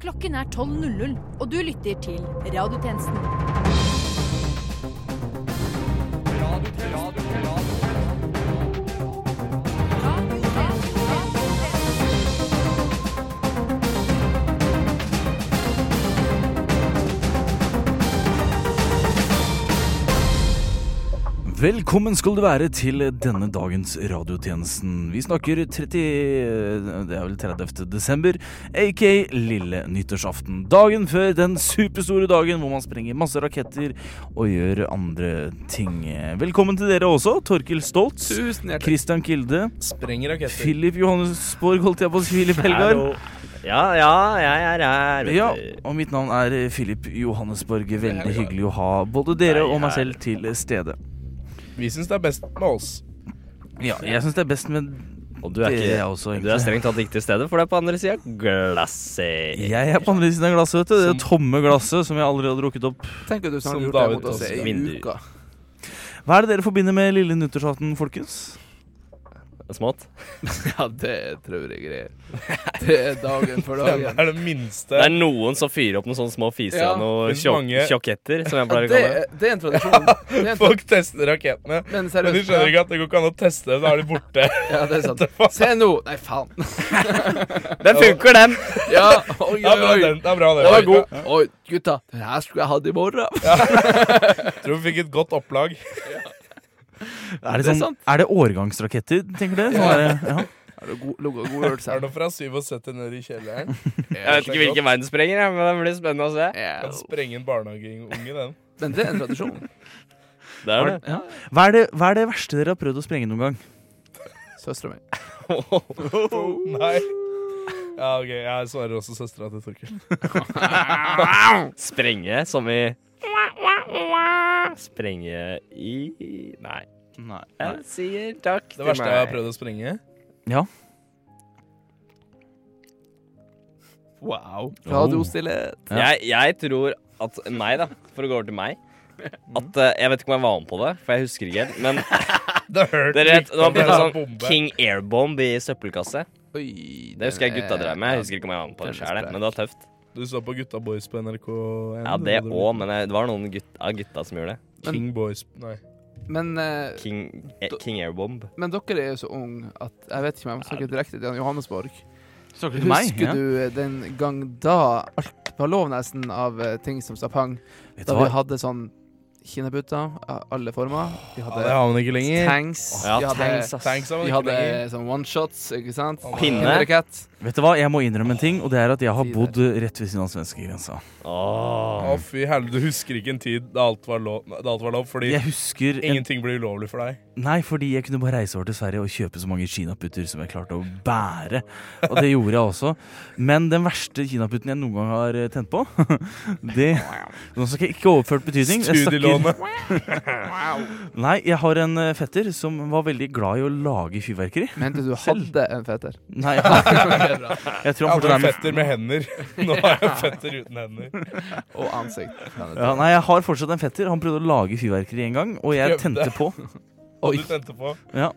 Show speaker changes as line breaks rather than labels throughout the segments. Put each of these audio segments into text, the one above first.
Klokken er 12.00, og du lytter til Radiotjenesten.
Velkommen skal du være til denne dagens radiotjenesten. Vi snakker 30... det er vel 30. desember, aka lille nyttårsaften. Dagen før den superstore dagen hvor man sprenger masse raketter og gjør andre ting. Velkommen til dere også, Torkil Stoltz,
Tusen hjertelig.
Christian Kilde,
Sprenger raketter.
Philip Johannesborg, holdt jeg på å si, Philip Helgar.
Ja, ja, jeg er her. vet
Ja,
du.
og mitt navn er Philip Johannesborg. Veldig
Helgar.
hyggelig å ha både dere og meg
Nei,
selv til stede.
Vi syns det er best med oss.
Ja, jeg syns det er best med
Og du er,
Det er
ikke,
jeg også,
du
egentlig.
er strengt tatt ikke til stede, for det er på andre sida glasset.
Jeg er på andre siden av glasset, vet du. Det
Som-
tomme glasset som jeg aldri har drukket opp.
Tenk at du
Som
snart har gjort
David
det mot oss
også.
i
Vindu.
uka.
Hva er det dere forbinder med lille nyttårsaften, folkens?
Smått.
Ja, det er traurige greier. Det er dagen for
Det
dagen.
er det minste.
Det er noen som fyrer opp noen sånne små fiser
Ja,
og noen
men
tjokk-
mange-
tjokketter, som jeg
Ja,
pleier
det,
å kalle det.
er- det er en tradisjon. Det er en tra
Folk tester raketene.
men
Men de
seriøst.
skjønner
Ja,
ikke at det går ikke an å teste, da er de borte.
ja, det er sant. Se nå! Nei, faen.
Den funker, den!
Ja, oi,
Det er
oi,
bra,
oi.
den. Det er bra, det.
Det var god. Oi, gutta. Den her skulle jeg hatt i morgen.
Tror vi fikk et godt opplag.
Er det,
Det er
sånn,
sant.
er det årgangsraketter, tenker dere? Sånn er det- ja.
Er det god, lukka god øl,
Er
sier
det noe fra 77 ned i kjelleren?
Jeg vet ikke hvilken vei den sprenger, jeg, men det blir spennende å se.
Ja,
Kan sprenge en barnehageunge, den.
Men det er en tradisjon.
Det er det.
Ja.
hva, er det, hva er det verste dere har prøvd å sprenge noen gang?
Søstera mi.
Nei. Ja, OK. Jeg svarer også søstera til Torkel.
Sprenge som i Sprenge i Nei.
Nei.
Jeg sier takk
Det verste jeg har prøvd å sprenge
Ja.
Wow. Radiostillhet.
Ja.
Jeg, jeg tror at meg, da, for å gå over til meg At eh, Jeg vet ikke om jeg var med på det, for jeg husker ikke helt. Men
Det hørte
dere vet, når man
rykter om
putter
en
sånn
bombe.
King Airbomb i søppelkasse
Oi.
Det husker jeg
den
gutta
er-
drev med. Jeg husker ikke om jeg var med på det
Den er
sjøl,
sprek.
men det var tøft.
Du så på Gutta Boys på NRK1?
Ja, det òg, men jeg, det var noen gutt, av gutta som gjorde det.
King Boys Nei.
Men, eh,
King, eh, King Airbomb.
men dere er jo så unge at jeg vet ikke om jeg snakker direkte til han Johannesborg.
Snakker til meg?
Husker
Ja.
du eh, den gang da alt var lov nesten av eh, ting som stapp hang?
Vet du
Da vi
hva?
hadde sånn kinabutter av alle former. Vi
Ja, det
hadde
har man ikke lenger.
tanks.
Ja,
Vi hadde,
tanks, ass.
Tanks har man
vi
ikke
hadde
lenger.
sånn oneshots, ikke sant?
Pinne.
Rakett.
Vet du hva? Jeg må innrømme en ting, og det er at jeg har
Fy,
bodd rett ved siden av svenskegrensa.
Åh.
Å, fy helvete, du husker ikke en tid da alt var lov, da alt var lov fordi
Jeg husker en,
ingenting ble ulovlig for deg.
Nei, fordi jeg kunne bare reise over til Sverige og kjøpe så mange kinaputter som jeg klarte å bære. Og det gjorde jeg også. Men den verste kinaputten jeg noen gang har eh, tent på, det Nå snakker jeg ikke overført betydning. jeg snakker-
Studielånet.
Nei, jeg har en eh, fetter som var veldig glad i å lage fyrverkeri.
Mente du hadde en fetter?
Nei, jeg, jeg tror han
Jeg
fortsatt
hadde en
er min
fetter med hender. Nå har jeg en fetter uten hender.
Og ansikt.
ja, Nei, jeg har fortsatt en fetter. Han prøvde å lage fyrverkeri en gang, og jeg
Prøvde.
tente på.
Og du tente på.
Ja.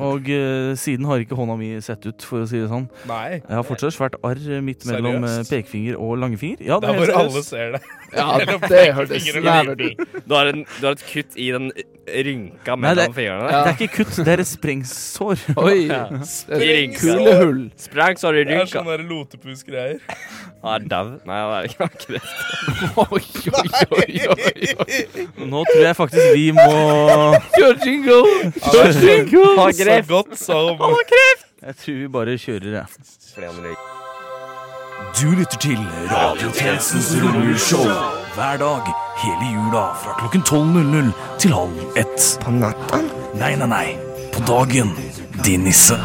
Og eh, siden har ikke hånda mi sett ut, for å si det sånn.
Nei.
Jeg har fortsatt svært arr eh, midt mellom eh,
Seriøst?
pekefinger og langfinger. Ja, det
Der
er
hvor
helt
alle
seriøst.
ser det.
Ja, det hørtes snevert ut.
Du har, en, du har et kutt i den rynka
Nei, det-
mellom fingrene.
Det
der.
er ikke kutt, det er et sprengsår.
Oi.
I rynka.
Kulehull.
Sprang, så har du
Det er sånn-
rynka.
sånne der lotepus-greier.
Han er dau. Nei, han er ikke- han er ikke det.
Oi, oi, oi, oi.
Nå tror jeg faktisk vi må
Kjør jingle!
Ja, det er
Han er
Så
grep.
godt som
Jeg tror vi bare kjører, jeg.
Fordi han røyker.
Du lytter til Radiotjenestens rulleshow hver dag hele jula fra klokken 12.00 til halv ett. På natten? Nei, nei, nei. På dagen, din nisse.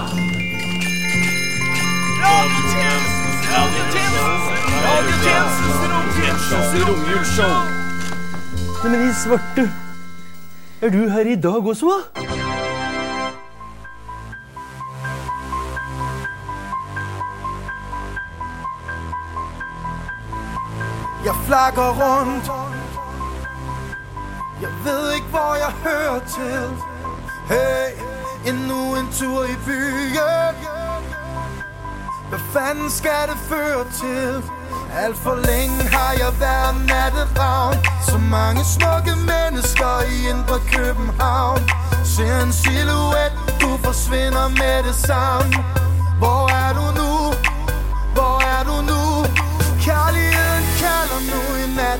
Men i svarte, er du her i dag også, da?
Jeg flakker rundt Jeg ved ikke, hvor jeg hører til Hey, endnu en tur i byen Hvad fanden skal det føre til? Alt for længe har jeg været natteravn Så mange smukke mennesker i indre København Ser en silhuet, du forsvinder med det samme Hvor er du nu? Hvor er du nu? Kærligheden kalder nu i nat,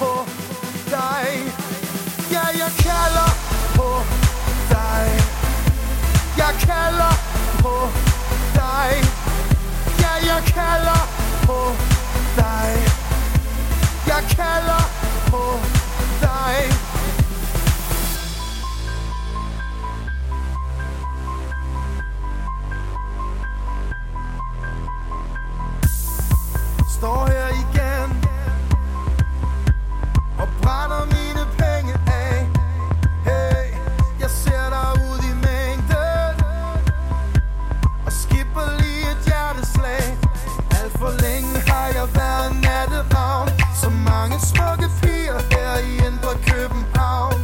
på dig. Ja, jeg kalder på dig. Jeg kalder på dig. Ja, jeg kalder på dig. Jeg kalder på dig. Står her igen og brænder mine penge af. Hey, jeg ser dig ud i mængden og skipper lige et hjerteslag Alt for længe har jeg været natteravn Så mange smukke piger her i Indre København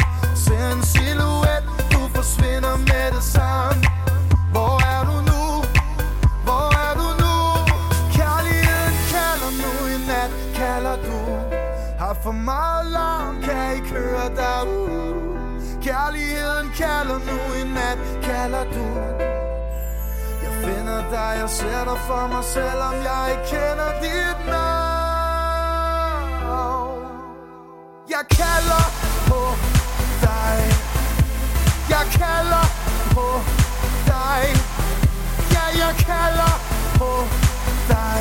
Ser en silhuet, du forsvinder med det samme Hvor er du nu? Hvor er du nu? Kærligheden kalder nu i nat, kalder du Har for meget larm, kan ikke høre dig ud Kærligheden kalder nu i nat, kalder du jeg finder dig, jeg ser dig for mig, selvom jeg ikke kender dit navn. Jeg kalder på dig. Jeg kalder på dig. Ja, jeg kalder på dig.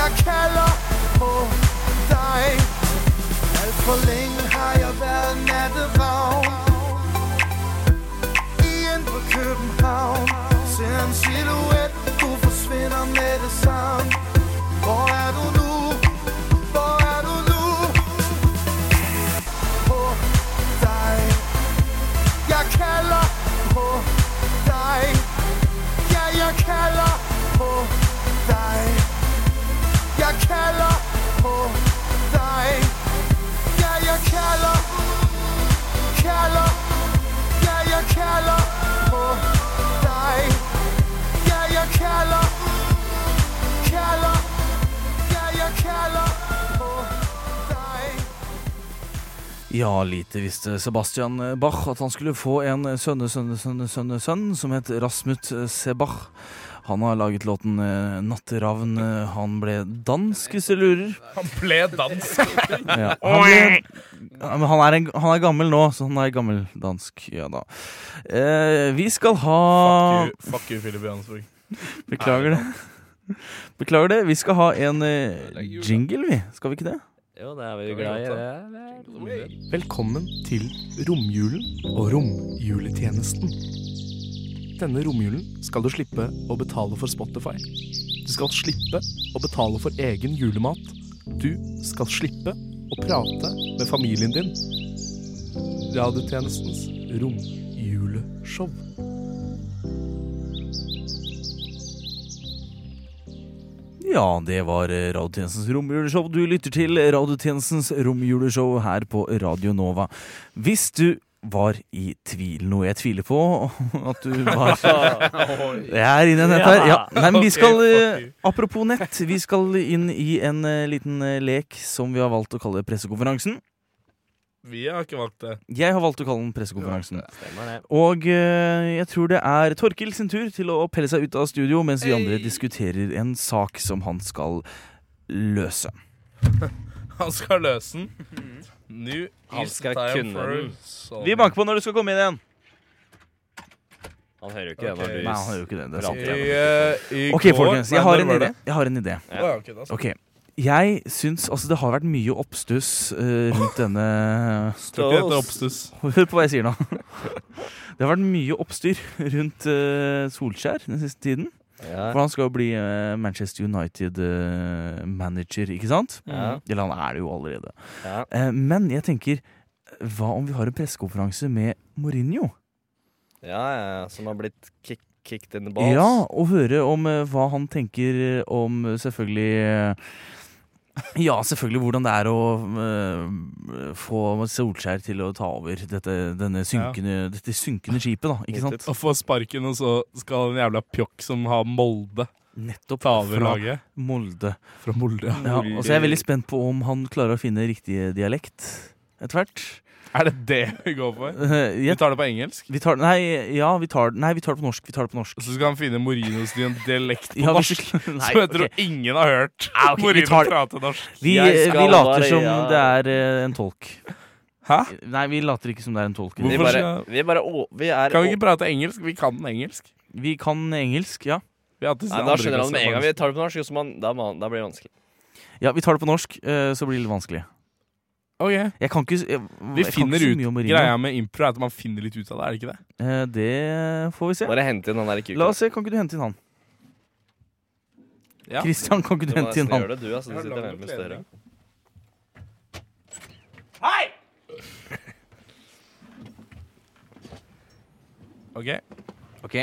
Jeg kalder på dig. Alt for længe har jeg været nattevagn i indre København Ser en silhuet, du forsvinder med det samme Hvor er du nu? Hvor er du nu? På dig Jeg kalder på dig Ja, jeg kalder på dig Jeg kalder på dig Ja, jeg kalder Kalder ja, jeg kalder på dig. Ja, jeg kalder, kalder. Ja, jeg kalder på Oh, dig.
Ja, lite visste Sebastian Bach at han skulle få en sønne, sønne, sønne, sønne, sønn som het Rasmut Sebach. Han har laget låten eh, 'Natteravn'. Eh, Han ble dansk, hvis du lurer.
Han ble dansk.
Ja, han, ble, ja, men han, er en, han er gammel nå, så han er gammel dansk. Ja da. Eh, vi skal ha
Fuck you, fuck you Philip Johansborg.
Beklager det. Beklager det. Vi skal ha en eh, jingle, vi. Skal vi ikke det?
Jo, det er vi jo glad i. det er-
Velkommen til romjulen og romjuletjenesten. Denne romjulen skal du slippe å betale for Spotify. Du skal slippe å betale for egen julemat. Du skal slippe å prate med familien din. Radiotjenestens romjuleshow.
Ja, det var eh, Radiotjenestens romjuleshow. Du lytter til Radiotjenestens romjuleshow her på Radio Nova. Hvis du var i tvil, noe jeg tviler på at du var Jeg er inne i nett her. Ja. Nei, men vi skal, eh, apropos nett, vi skal inn i en eh, liten eh, lek som vi har valgt å kalle pressekonferansen.
Vi har ikke valgt det.
Jeg har valgt å kalle den pressekonferansen.
Stemmer det.
Og eh, jeg tror det er Torkil sin tur til å pelle seg ut av studio mens vi andre diskuterer en sak som han skal løse.
Han skal løse den. New
Han
is
skal
time
kunne
for
den.
solving.
Vi banker på når du skal komme inn igjen.
Han hører jo ikke
Ok.
det
Nei, han
når
har
du
jo ikke det. det er sant.
I, eh, i
Ok,
går-
folkens. Jeg
Nei,
har
når
en
var
idé.
det?
Jeg har en idé.
Å, ja, ok, da skal
Ok. Jeg syns Altså, det har vært mye oppstuss eh, rundt denne
Tror ikke dette er oppstuss.
Hør på hva jeg sier nå. Det har vært mye oppstyr rundt eh, Solskjær den siste tiden.
Ja.
For han skal jo bli eh, Manchester United-manager, ikke sant?
Ja.
Eller han er det jo allerede.
Ja.
Eh, men jeg tenker, hva om vi har en pressekonferanse med Mourinho?
Ja, ja, som har blitt kick, kicked in the balls.
Ja, og høre om eh, hva han tenker om eh, selvfølgelig eh, Ja, selvfølgelig hvordan det er å eh, få Solskjær til å ta over dette, denne synkende, dette synkende skipet, da. Ikke sant?
Og få sparken, og så skal en jævla pjokk som har Molde,
Nettopp
ta over
fra
laget.
Molde.
Fra Molde, ja.
Ja, og så er jeg veldig spent på om han klarer å finne riktig dialekt etter hvert.
Er det det vi går for?
Eh,
Vi
jeg-
tar det på engelsk.
Vi tar, nei, ja, vi tar, nei, vi tar det på norsk. Vi tar det på norsk.
Og så skal han finne Morinos dialekt på
Ja, hvis
norsk.
du- nei,
som jeg tror
ok.
ingen har hørt.
Ja, Ah, ok, vi
Morino
tar det.
prater norsk.
vi,
Jeg
eh, vi
skal
later
være-
som
ja.
det er eh, en tolk.
Hæ?
Nei, vi later ikke som det er en tolk.
Vi
Hvorfor
bare,
skal-
vi bare å, vi er
Kan
å-
vi ikke prate engelsk? Vi kan engelsk.
Vi kan engelsk, ja.
Vi har hatt det
Nei, Da
siden andre
skjønner han
klasse,
med en gang
faktisk.
vi tar det på norsk. og så man, da, man, da blir det vanskelig.
Ja, Vi tar det på norsk, eh, så blir det litt vanskelig.
Ok.
Jeg kan ikke s- jeg,
Vi
jeg kan
finner
ikke så
ut
mye om Mourinho.
Greia med impro er at man finner litt ut av det, er det ikke det?
Eh, det får vi se.
Bare hente inn han der i kuken.
La oss se, Kan ikke du hente inn han?
Ja.
Kristian, kan ikke
Du
du
må
hente inn
nesten
han?
gjøre det, du, altså. Du
Jeg har
sitter
lang
nærmest døra.
bekledning. Ok.
Ok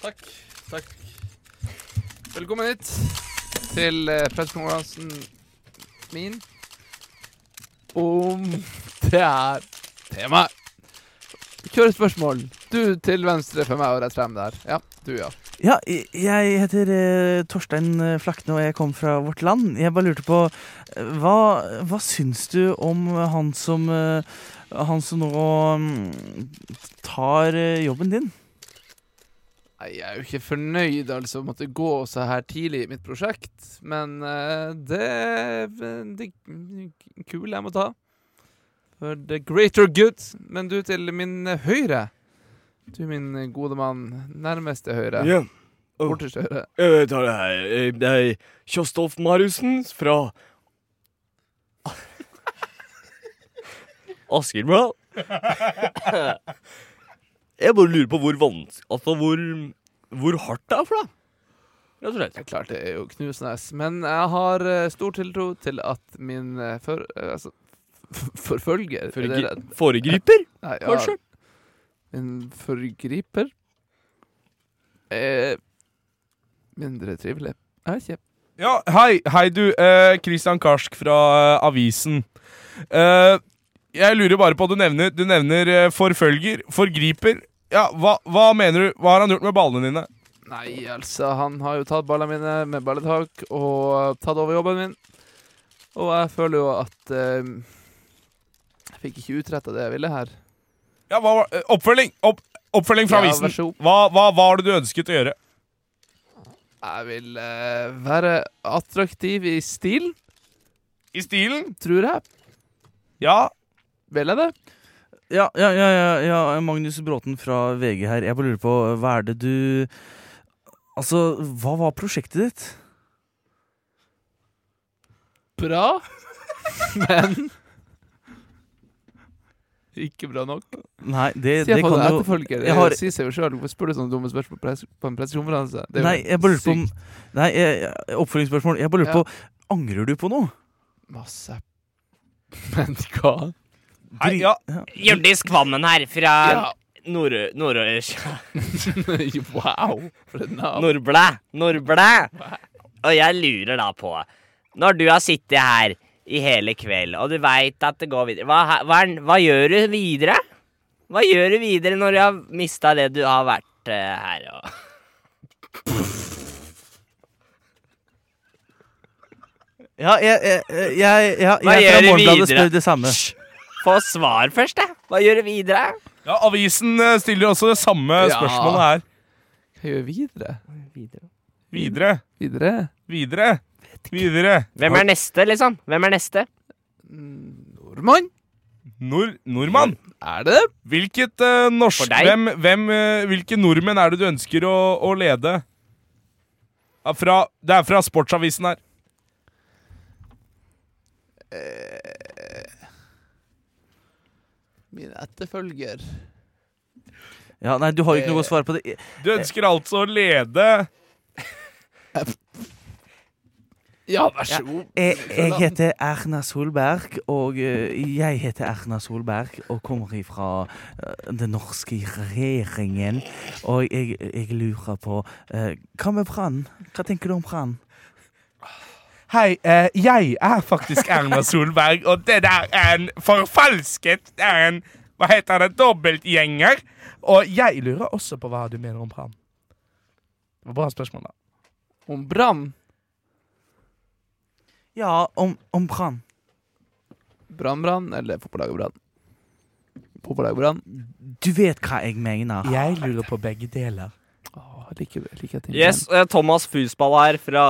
Takk. Takk. Velkommen hit til eh, pressekonferansen min om det her temaet. Kjør spørsmål. Du til venstre for meg og rett frem der. Ja, du, ja.
Ja, jeg- jeg heter eh, Torstein eh, Flakne, og jeg kommer fra Vårt Land. Jeg bare lurte på eh, Hva, hva syns du om eh, han som eh, Han som nå mm, tar eh, jobben din?
Nei, jeg er jo ikke fornøyd, altså, å måtte gå så her tidlig i mitt prosjekt. Men eh, det Det er kul jeg må ta. For the greater good. Men du til min høyre. Du, min gode mann. Nærmeste høyre.
Ja. Åh.
Borterste høyre.
Jeg tar det her. Eh, Det er Kjostolf Mariussen fra
Askerbra. Jeg bare lurer på hvor vanskelig Altså hvor, hvor hardt det er for deg. Rett og slett.
Det er klart det er jo knusende, men jeg har eh, stor tiltro til at min eh, for, eh, altså, f- forfølger er det
Forgri-
det?
Foregriper?
Nei, ja.
Kanskje?
Min forgriper er mindre trivelig. Jeg vet ikke.
Ja, hei, hei du, eh, Christian Karsk fra eh, Avisen. Eh, jeg lurer bare på, du nevner, du nevner eh, forfølger, forgriper. Ja, hva, hva mener du? Hva har han gjort med ballene dine?
Nei, altså, han har jo tatt ballene mine med balletak og eh, tatt over jobben min. Og jeg føler jo at eh, jeg fikk ikke utretta det jeg ville her.
Ja, hva, var- eh, oppfølging! Opp, oppfølging fra
Ja, vær
Avisen.
så god.
Hva, hva var det du ønsket å gjøre?
Jeg vil eh, være attraktiv i stil,
I stilen?
tror jeg.
Ja.
Vil jeg det?
Ja, ja, ja, ja, ja Magnus Bråten fra VG her. Jeg bare lurer på, hva er det du Altså, hva var prosjektet ditt?
bra, men ikke bra nok.
Nei, det,
Si
det
på
kan
det
jo
etterfølger.
jeg har-
Si seg jo sjøl. Hvorfor spør du sånne dumme spørsmål på press- på en pressekonferanse? Det er jo
Nei, jeg bare lurer på om
sykt
Nei, jeg- jeg- oppfølgingsspørsmål. Jeg bare lurer
Ja.
på Angrer du på noe?
Masse Men hva?
Hei, ja.
Hjørdis Kvammen her fra
Ja.
Nord- Nord-
wow! For et navn.
Nordblæ. Nordblæ. Og jeg lurer da på Når du har sittet her i hele kveld, og du veit at det går videre hva, hva, er- hva gjør du videre? Hva gjør du videre når du har mista det du har vært eh, her og
Ja, jeg, jeg, jeg, jeg, jeg,
Hva
jeg
gjør
fra
du
Morgenbladet
videre?
spør det samme.
Få svar først, da. Hva gjør du videre?
ja, Avisen eh, stiller også det samme
Ja.
spørsmålet her.
Hva gjør vi videre?
Videre.
Videre?
Videre. Videre.
Hvem er neste, liksom? Hvem er neste?
Nordmann?
Nord nordmann.
Er det?
Hvilket eh, norsk
For deg?
hvem, hvem, eh, Hvilke nordmenn er det du ønsker å, å lede? Ja, Fra, det er fra Sportsavisen her.
Min etterfølger.
Ja, nei, du har jo ikke noe å svare på det.
Du ønsker altså å lede
Ja, vær
Ja.
så god.
Jeg, heter Erna Solberg, og eh, jeg heter Erna Solberg og kommer ifra eh, den norske regjeringen. Og jeg, lurer på eh, Hva med brannen? Hva tenker du om brannen?
Hei, eh, jeg er faktisk Erna Solberg, og det der er en forfalsket Det er en Hva heter det? Dobbeltgjenger. Og jeg lurer også på hva du mener om Pram. Det var bra spørsmål, da.
Om brann.
Ja, om, om brann.
Brannbrann eller fotballagbrann? Fotballagbrann.
Du vet hva jeg mener.
Jeg lurer på begge deler.
Åh, liker like ting.
Yes, eh, Thomas Fusball her fra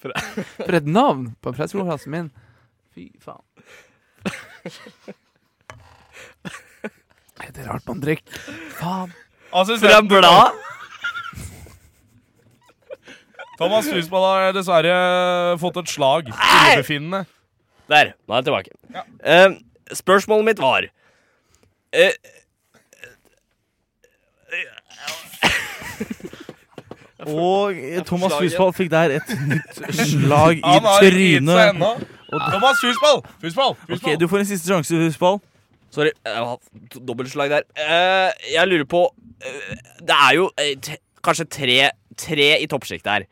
For et navn på pressekonferansen min. Fy faen. Er det rart man drikker? Faen.
Altså,
Fra Blad.
Thomas Husball har dessverre fått et slag. Illebefinnende.
Der, nå er jeg tilbake. Eh, spørsmålet mitt var eh,
Og Thomas Husvold fikk der et nytt slag i
Han har gitt seg
trynet.
ennå. Thomas Husball! Husball!
Ok, Du får en siste sjanse, Husvold.
Sorry, jeg har hatt dobbeltslag der. Eh, jeg lurer på eh, Det er jo eh, t kanskje tre, tre i toppsjiktet her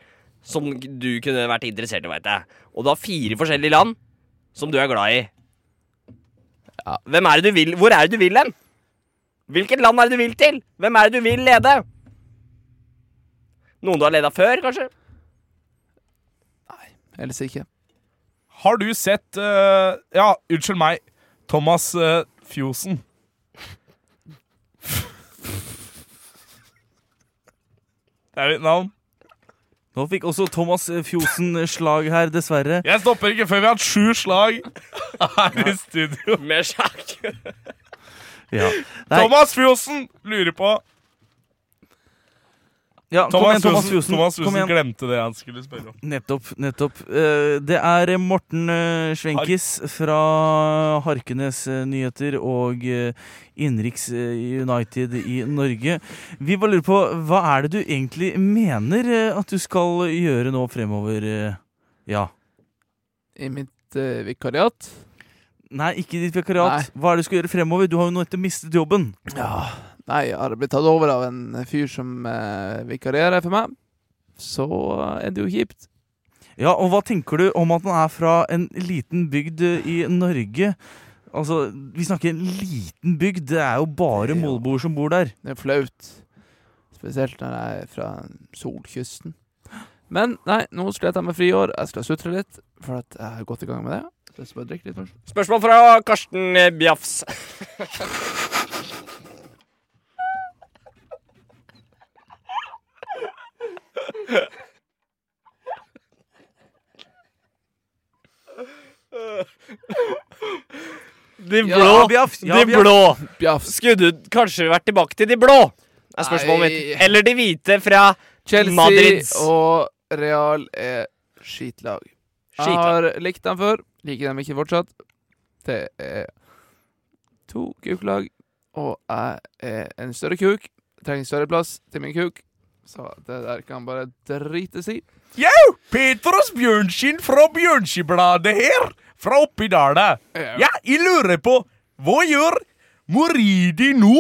som du kunne vært interessert i, veit jeg. Og du har fire forskjellige land som du er glad i. Hvem er det du vil Hvor er det du vil hen? Hvilket land er det du vil til? Hvem er det du vil lede? Noen du har leda før, kanskje?
Ellers ikke.
Har du sett eh, Ja, unnskyld meg. Thomas eh, Fjosen. Det er mitt navn.
Nå fikk også Thomas eh, Fjosen slag her, dessverre.
Jeg stopper ikke før vi har hatt sju slag her i studio.
Med sjakk.
Ja. Nei.
Thomas Fjosen lurer på
Ja, kom
Thomas
igjen, Thomas
Fjosen,
Fjosen.
Thomas
Kom
Fjosen
igjen.
glemte det han skulle spørre om.
Nettopp. nettopp. Eh, Det er Morten eh, Schwenkis fra Harkenes eh, Nyheter og eh, Innenriks eh, United i Norge. Vi bare lurer på, hva er det du egentlig mener eh, at du skal gjøre nå fremover? eh? Ja.
I mitt eh, vikariat
Nei, ikke i ditt vikariat. Hva er det du skal gjøre fremover? Du har jo nå etter mistet jobben.
Ja. Nei, jeg har blitt tatt over av en fyr som eh, vikarierer for meg. Så eh, er det jo kjipt.
Ja, og hva tenker du om at man er fra en liten bygd eh, i Norge? Altså, vi snakker en liten bygd. Det er jo bare
Ja.
molboer som bor der.
Det er flaut. Spesielt når jeg er fra solkysten. Men nei, nå skal jeg ta meg friår. Jeg skal sutre litt, for at jeg har gått i gang med det. Så jeg skal bare drikke litt først.
Spørsmål fra Karsten eh, Bjafs. De blå.
Ja, Bjafs, ja,
de
Bjafs.
blå.
Bjafs.
Skulle du kanskje vært tilbake til de blå? Er spørsmålet
Nei.
mitt. Eller de hvite fra
Chelsea
Madrids.
og Real er skitlag. Jeg
Skitlag.
har likt dem før. Liker dem ikke fortsatt. Det er to kuklag, og jeg er en større kuk. Trenger større plass til min kuk, så det der kan bare drites i.
Jau! Petros Bjørnskinn fra Bjørnskibladet her, fra oppi dala. Ja, jeg lurer på Hva gjør Moridi nå?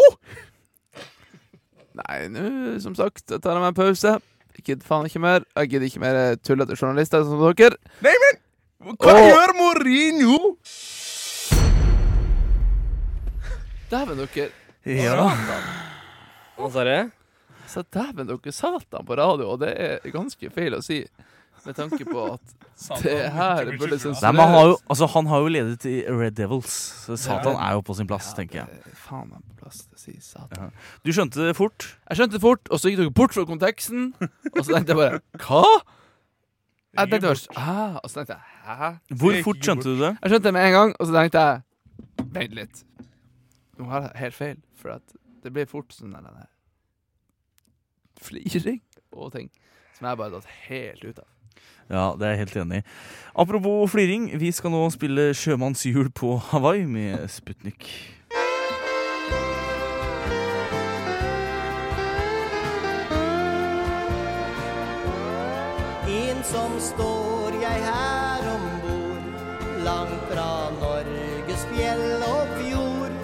Nei, nå, som sagt, jeg tar meg en pause. Jeg gidder faen ikke mer. Jeg gidder ikke mer tullete journalister som dere.
Nei, men Hva
Åh.
gjør Mourinho?
Dæven, dere.
Ja.
Hva sa du?
Så dæven, dere satan på radio, og det er ganske feil å si. Med tanke på at det her burde liksom
Nei, men han har, jo,
sensureres.
altså, han har jo ledet i Red Devils, så Satan er jo på sin plass, tenker jeg.
Eh, Faen meg på plass til å si satan.
Du skjønte det fort.
Jeg skjønte det fort, og så gikk dere bort fra konteksten. Og så tenkte jeg bare Hva?! Jeg tenkte først ah, Og så tenkte jeg Hæ?
Hvor
Jeg gikk
fort skjønte du det?
Jeg skjønte det med en gang, og så tenkte jeg Vent litt. Nå har jeg helt feil, for at det blir fort sånn der der- fliring og ting som jeg bare har datt helt ut av.
Ja, det er jeg helt enig i. Apropos fliring, vi skal nå spille sjømannshjul på Hawaii med Sputnik.
Ensom står jeg her om bord, langt fra Norges fjell og fjord,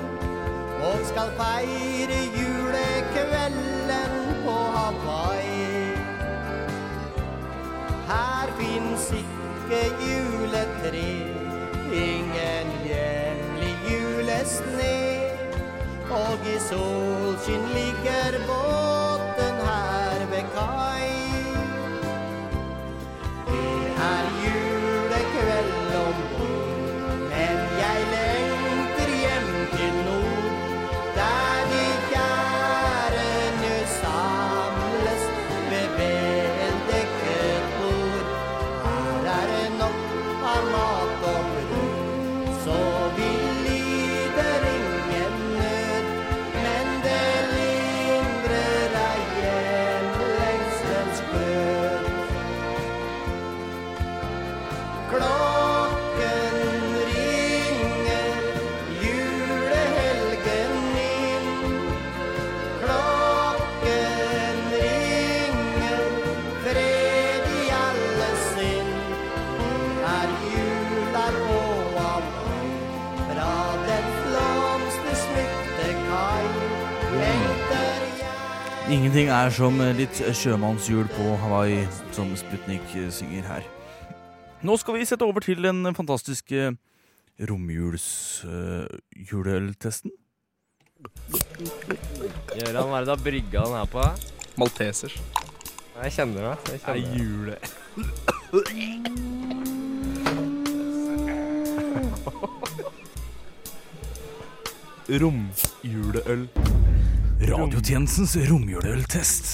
og skal feire julekvelden på Hawaii. Her fins ikke juletre, ingen hjemlig julesne, og i solskinn ligger båten her ved kai. Det er julekveld om bord, men jeg lengter hjem til nord, der de kjærene samles ved veldekket bord. Her er det nok av mat og brød, så vi lider ingen nød, men det lindrer ei hjemlengselens glød. Klokken ringer, julehelgen inn. Klokken ringer, fred i alle sinn. Er jula på avvei, fra den blomstersmykte kai, lengter jeg
Ingenting er som litt sjømannshjul på Hawaii, som Sputnik eh, synger her. Nå skal vi sette over til den fantastiske romjulsjuleøltesten.
Gøran, hva er det du har brygga den her på?
Maltesers.
Jeg kjenner det. Jeg kjenner det.
jule. Romjuleøl.
Radiotjenestens romjuleøltest.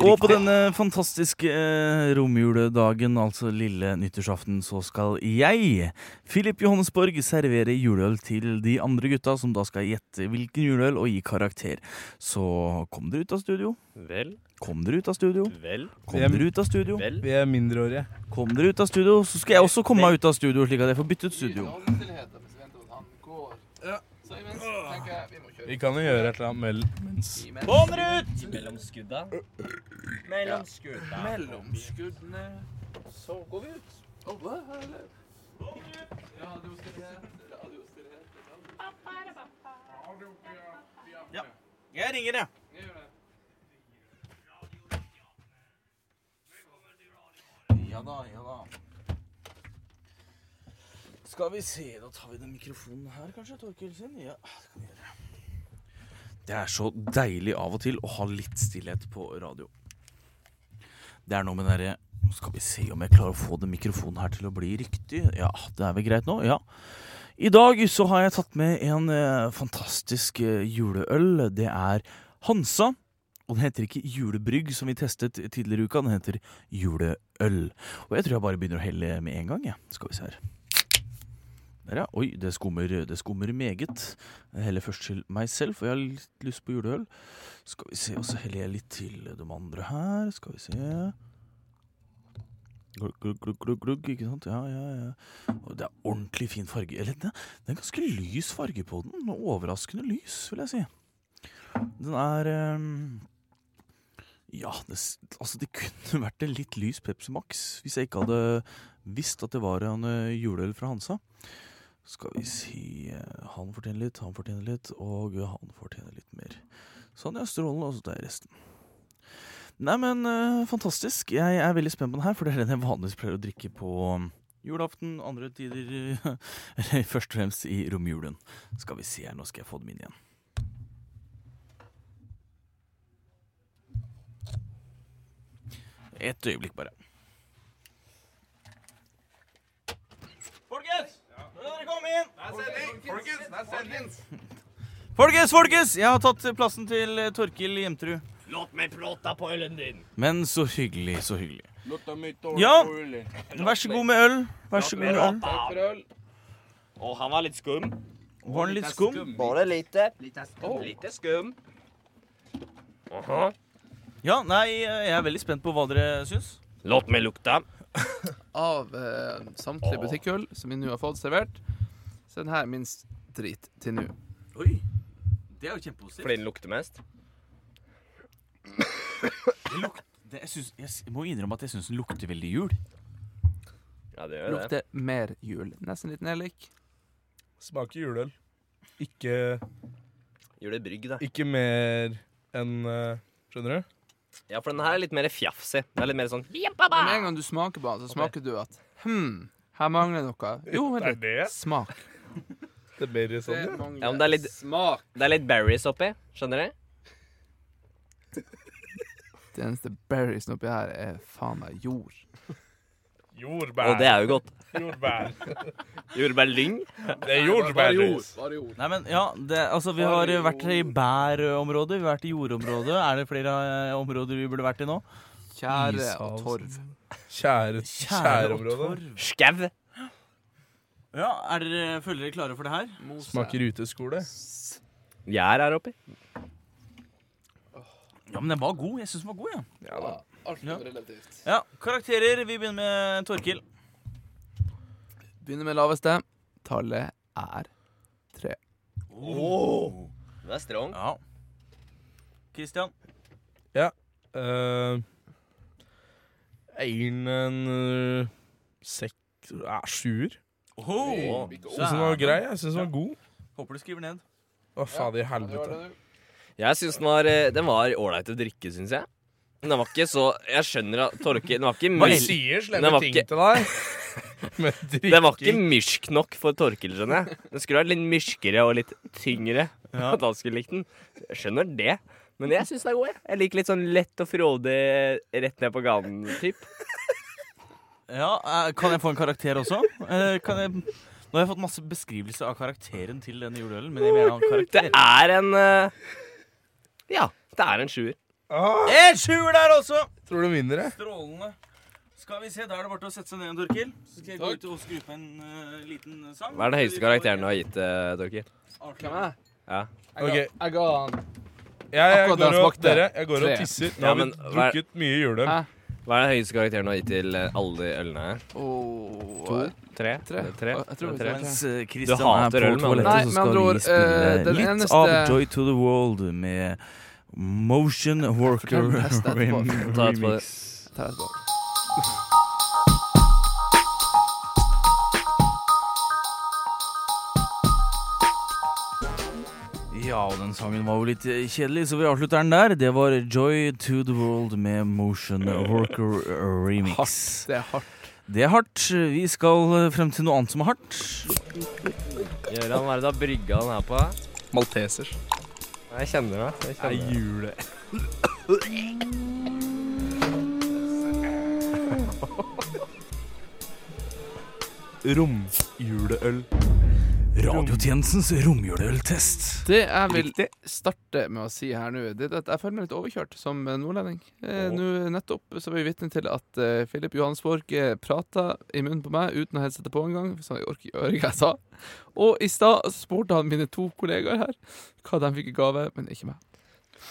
Og på denne fantastiske eh, romjuledagen, altså lille nyttårsaften, så skal jeg, Filip Johannesborg, servere juleøl til de andre gutta, som da skal gjette hvilken juleøl og gi karakter. Så kom dere ut av studio.
Vel,
Kom dere ut av studio.
vel,
Kom
Hvem?
dere ut av studio.
vel.
Vi er mindreårige.
Kom dere ut av studio, så skal jeg også komme meg ut av studio, slik at jeg får byttet studio.
Vi kan jo gjøre et eller annet mell mens
Få den ut! Mellom skudda. Mellom skudda.
Mellom skuddene så går vi ut. Oh, hva er det?
Jeg ringer, jeg.
Ja da, ja da. Skal vi se, da tar vi den mikrofonen her kanskje, Torkild sin? Ja, det kan vi gjøre. Det er så deilig av og til å ha litt stillhet på radio. Det er noe med den derre Skal vi se om jeg klarer å få den mikrofonen her til å bli riktig? Ja, det er vel greit nå? Ja. I dag så har jeg tatt med en eh, fantastisk eh, juleøl. Det er Hansa. Og den heter ikke julebrygg, som vi testet tidligere i uka. Den heter juleøl. Og jeg tror jeg bare begynner å helle med en gang. Ja. Skal vi se her. Der, ja. Oi, det skummer, det skummer meget. Jeg heller først til meg selv, for jeg har litt lyst på juleøl. Skal vi se, Og så heller jeg litt til de andre her. Skal vi se Glugg, glugg, glugg, glugg, glugg, ikke sant? Ja, ja, ja. Og det er ordentlig fin farge. Eller, det er, det er ganske lys farge på den. og Overraskende lys, vil jeg si. Den er eh, ja, det, s- altså det kunne vært en litt lys Pepsi Max hvis jeg ikke hadde visst at det var en eh, juleøl fra Hansa. Skal vi si eh, Han fortjener litt, han fortjener litt, og han fortjener litt mer. Sånn, ja. Strålende. Og så tar jeg resten. Nei, men eh, fantastisk. Jeg er veldig spent på den her, for det er den jeg vanligvis pleier å drikke på um, julaften, andre tider eh, Eller først og fremst i romjulen. Skal vi se her, nå skal jeg få dem inn igjen. Et øyeblikk, bare. Folkens! Nå dere komme inn! Folkens, folkens! Jeg har tatt plassen til eh, Torkil Jemtrud.
Låt meg plåta på ølen din.
Men så hyggelig, så hyggelig. Ja, vær så god med øl. Vær så god med øl.
Og han var litt skum.
Var den litt skum?
Bare lite. Lite skum. Lite skum.
Ja, nei, eh, jeg er veldig spent på hva dere syns.
Låt meg lukta.
av eh, samtlige butikkøl som vi nå har fått servert. Så den her minst drit til nå.
Oi, det er jo kjempepositivt.
Fordi den lukter mest?
Det luk- det, jeg, syns- jeg s- jeg må innrømme at jeg syns den lukter veldig jul.
Ja, det gjør det.
Lukter mer jul. Nesten litt nedlik.
Smaker juleøl. Ikke,
Julebrygg, da.
ikke mer enn eh, Skjønner du?
Ja, for den her er litt mer fjafsig. Den er litt mer sånn
Men med en gang du smaker på den, så smaker du at Hm, her mangler noe. Jo,
Det er
vent litt.
det.
Smak.
Det er mer sånn, ja.
mangler
Ja, men det er litt-
smak.
Det er litt berries oppi. Skjønner du?
Det eneste berriesen oppi her er faen meg jord.
Jordbær.
Og det er jo godt.
Jordbær.
Jordbærlyng.
Det er jordbærjus.
Bare jord.
Nei, men ja, det, altså Vi har vært i bærområdet, vi har vært i jordområdet. Er det flere eh, områder vi burde vært i nå?
Tjære og
Ishavsen.
torv.
Tjære
Kjære,
og
kjæreområde.
torv.
Skau.
Ja, er dere, Føler dere klare for det her?
Mose.
Smaker uteskole.
Gjær her oppi.
Ja, men Den var god. Jeg syns den var god. Ja.
Alt
Ja.
relativt.
ja, Karakterer. Vi begynner med Torkil.
Begynner med laveste. Tallet er tre.
Den er strong.
Ja. Christian.
Uh, Eieren en eh, sek... Uh, sjuer.
Oh,
Jeg syns den var grei. Jeg syns den var god.
Håper du skriver ned.
Å, fader i helvete.
Jeg syns den var eh, Den var ålreit å drikke, syns jeg. Men den var ikke så Jeg skjønner at Torke Den var ikke
Man
mysk,
sier
Den
slemme
var
ting
ikke-
til deg. Men
den var ikke
drikking
myrsk nok for Torkil, skjønner jeg. Den skulle vært litt myrskere og litt tyngre. At han skulle likt den. Jeg skjønner det. Men jeg syns den er god, jeg. Jeg liker litt sånn lett og frodig rett ned på ganen-typ.
Ja, eh, Kan jeg få en karakter også? Eh, Kan jeg... Nå har jeg fått masse beskrivelser av karakteren til denne juleølen, men jeg vil gjerne ha en
Det
karakter.
er en eh, Ja, det er en sjuer.
ah,
Eh,
En sjuer der også!
Tror du vinner, jeg?
Strålende. Skal vi se, da er det bare til å sette seg ned, Torkil. Så skal jeg gå ut og skru på en eh, liten sang.
Hva er den høyeste karakteren du har gitt, eh, Torkil?
Hvem er det?
Ja.
Ok, jeg,
Jeg ga han
jeg
Akkurat den
går og,
smakte.
dere, jeg går og
Tre.
tisser. Nå
Ja,
har vi
men hva er-
drukket mye juleøl.
Hæ?
Hva er den høyeste karakteren du har gitt til eh, alle de ølene her?
Åh,
Tre?
Tre.
Tre?
Jeg tror
Tre.
vi
Mens
Du
Kristian er
hater
på
øl, men-
toalettet,
Nei,
så
med
skal
andre
vi
ord,
spille
eh, den
litt
eneste-
av Joy to the World med Motion Worker
Fortell resten etterpå.
rem-
Ta etterpå
Remix.
tar et valg.
Ja, og den sangen var jo litt eh, kjedelig, så vi avslutter den der. Det var Joy to the World med Motion Worker Remix.
Det er hardt.
Det er hardt. Vi skal eh, frem til noe annet som er hardt.
Gøran, hva er det du har brygga den her på?
Maltesers.
Jeg kjenner det. Jeg
Det
kjenner
er
det.
jule. Romjuleøl.
Radiotjenestens romjuleøltest.
Det jeg vil starte med å si her nå, det er at jeg føler meg litt overkjørt som eh, nordlending. Eh,
Åh.
Nå nettopp så var vi vitne til at eh, Filip Johansborg eh, prata i munnen på meg uten å headsette på engang, så jeg orker ikke høre hva jeg sa. Og i stad så spurte han mine to kollegaer her hva de fikk i gave, men ikke meg.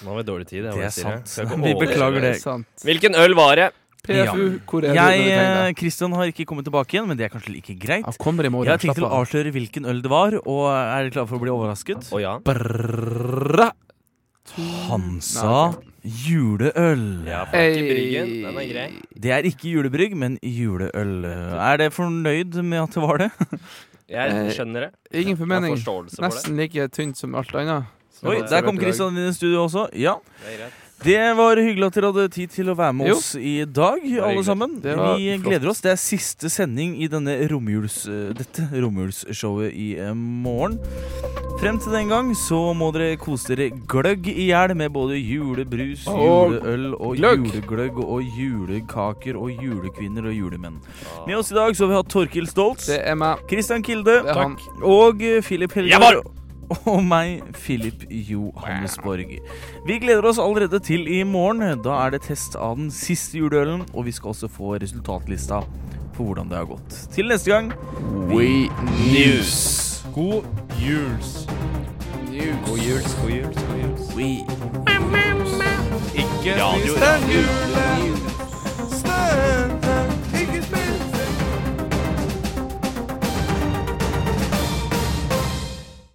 Nå har vi dårlig tid. jeg
Det
bare
er
sier det.
sant.
Skal ikke
Vi
overraske
beklager
deg.
det.
Sant.
Hvilken øl var det?
Ja.
PFU, hvor er du når
Jeg,
du trenger
eh,
deg?
Kristian har ikke kommet tilbake igjen, men det er kanskje ikke greit.
Han kommer i
Jeg har
morgen.
tenkt til
Slapp
å
av.
avsløre hvilken øl det var, og er dere klare for å bli overrasket?
Å ja.
Brrra. Hansa juleøl.
ja fuck i
Ei.
bryggen. Den er grei.
Det er ikke julebrygg, men juleøl. Er dere fornøyd med at det var det?
Jeg skjønner det.
Ingen
Jeg har
formening.
forståelse for det.
Nesten like tynt som alt annet. som
Oi,
jeg
Der
serverte
kom
i dag.
Kristian inn i studio også. Ja,
Det er greit.
Det var hyggelig at dere hadde tid til å være med
Jo.
oss i dag, alle
hyggelig.
sammen.
Det var
Vi
flott.
gleder oss. Det er siste sending i denne romjuls, eh, dette romjulsshowet i eh, morgen. Frem til den gang så må dere kose dere gløgg i hjel med både julebrus,
Og
juleøl og
gløgg.
julegløgg og julekaker og julekvinner og julemenn. Med oss i dag så har vi hatt Torkil Stoltz,
Det er meg.
Christian Kilde
Det er han.
og eh, Philip
Jabbar!
Helgar. Og meg, Philip Johannesborg. Vi gleder oss allerede til i morgen. Da er det test av den siste juleølen, og vi skal også få resultatlista på hvordan det har gått. Til neste gang
We news.
God juls.
news.
God jul, god jul, god jul.
We
Ikke
Radio
spis den julen. Stein.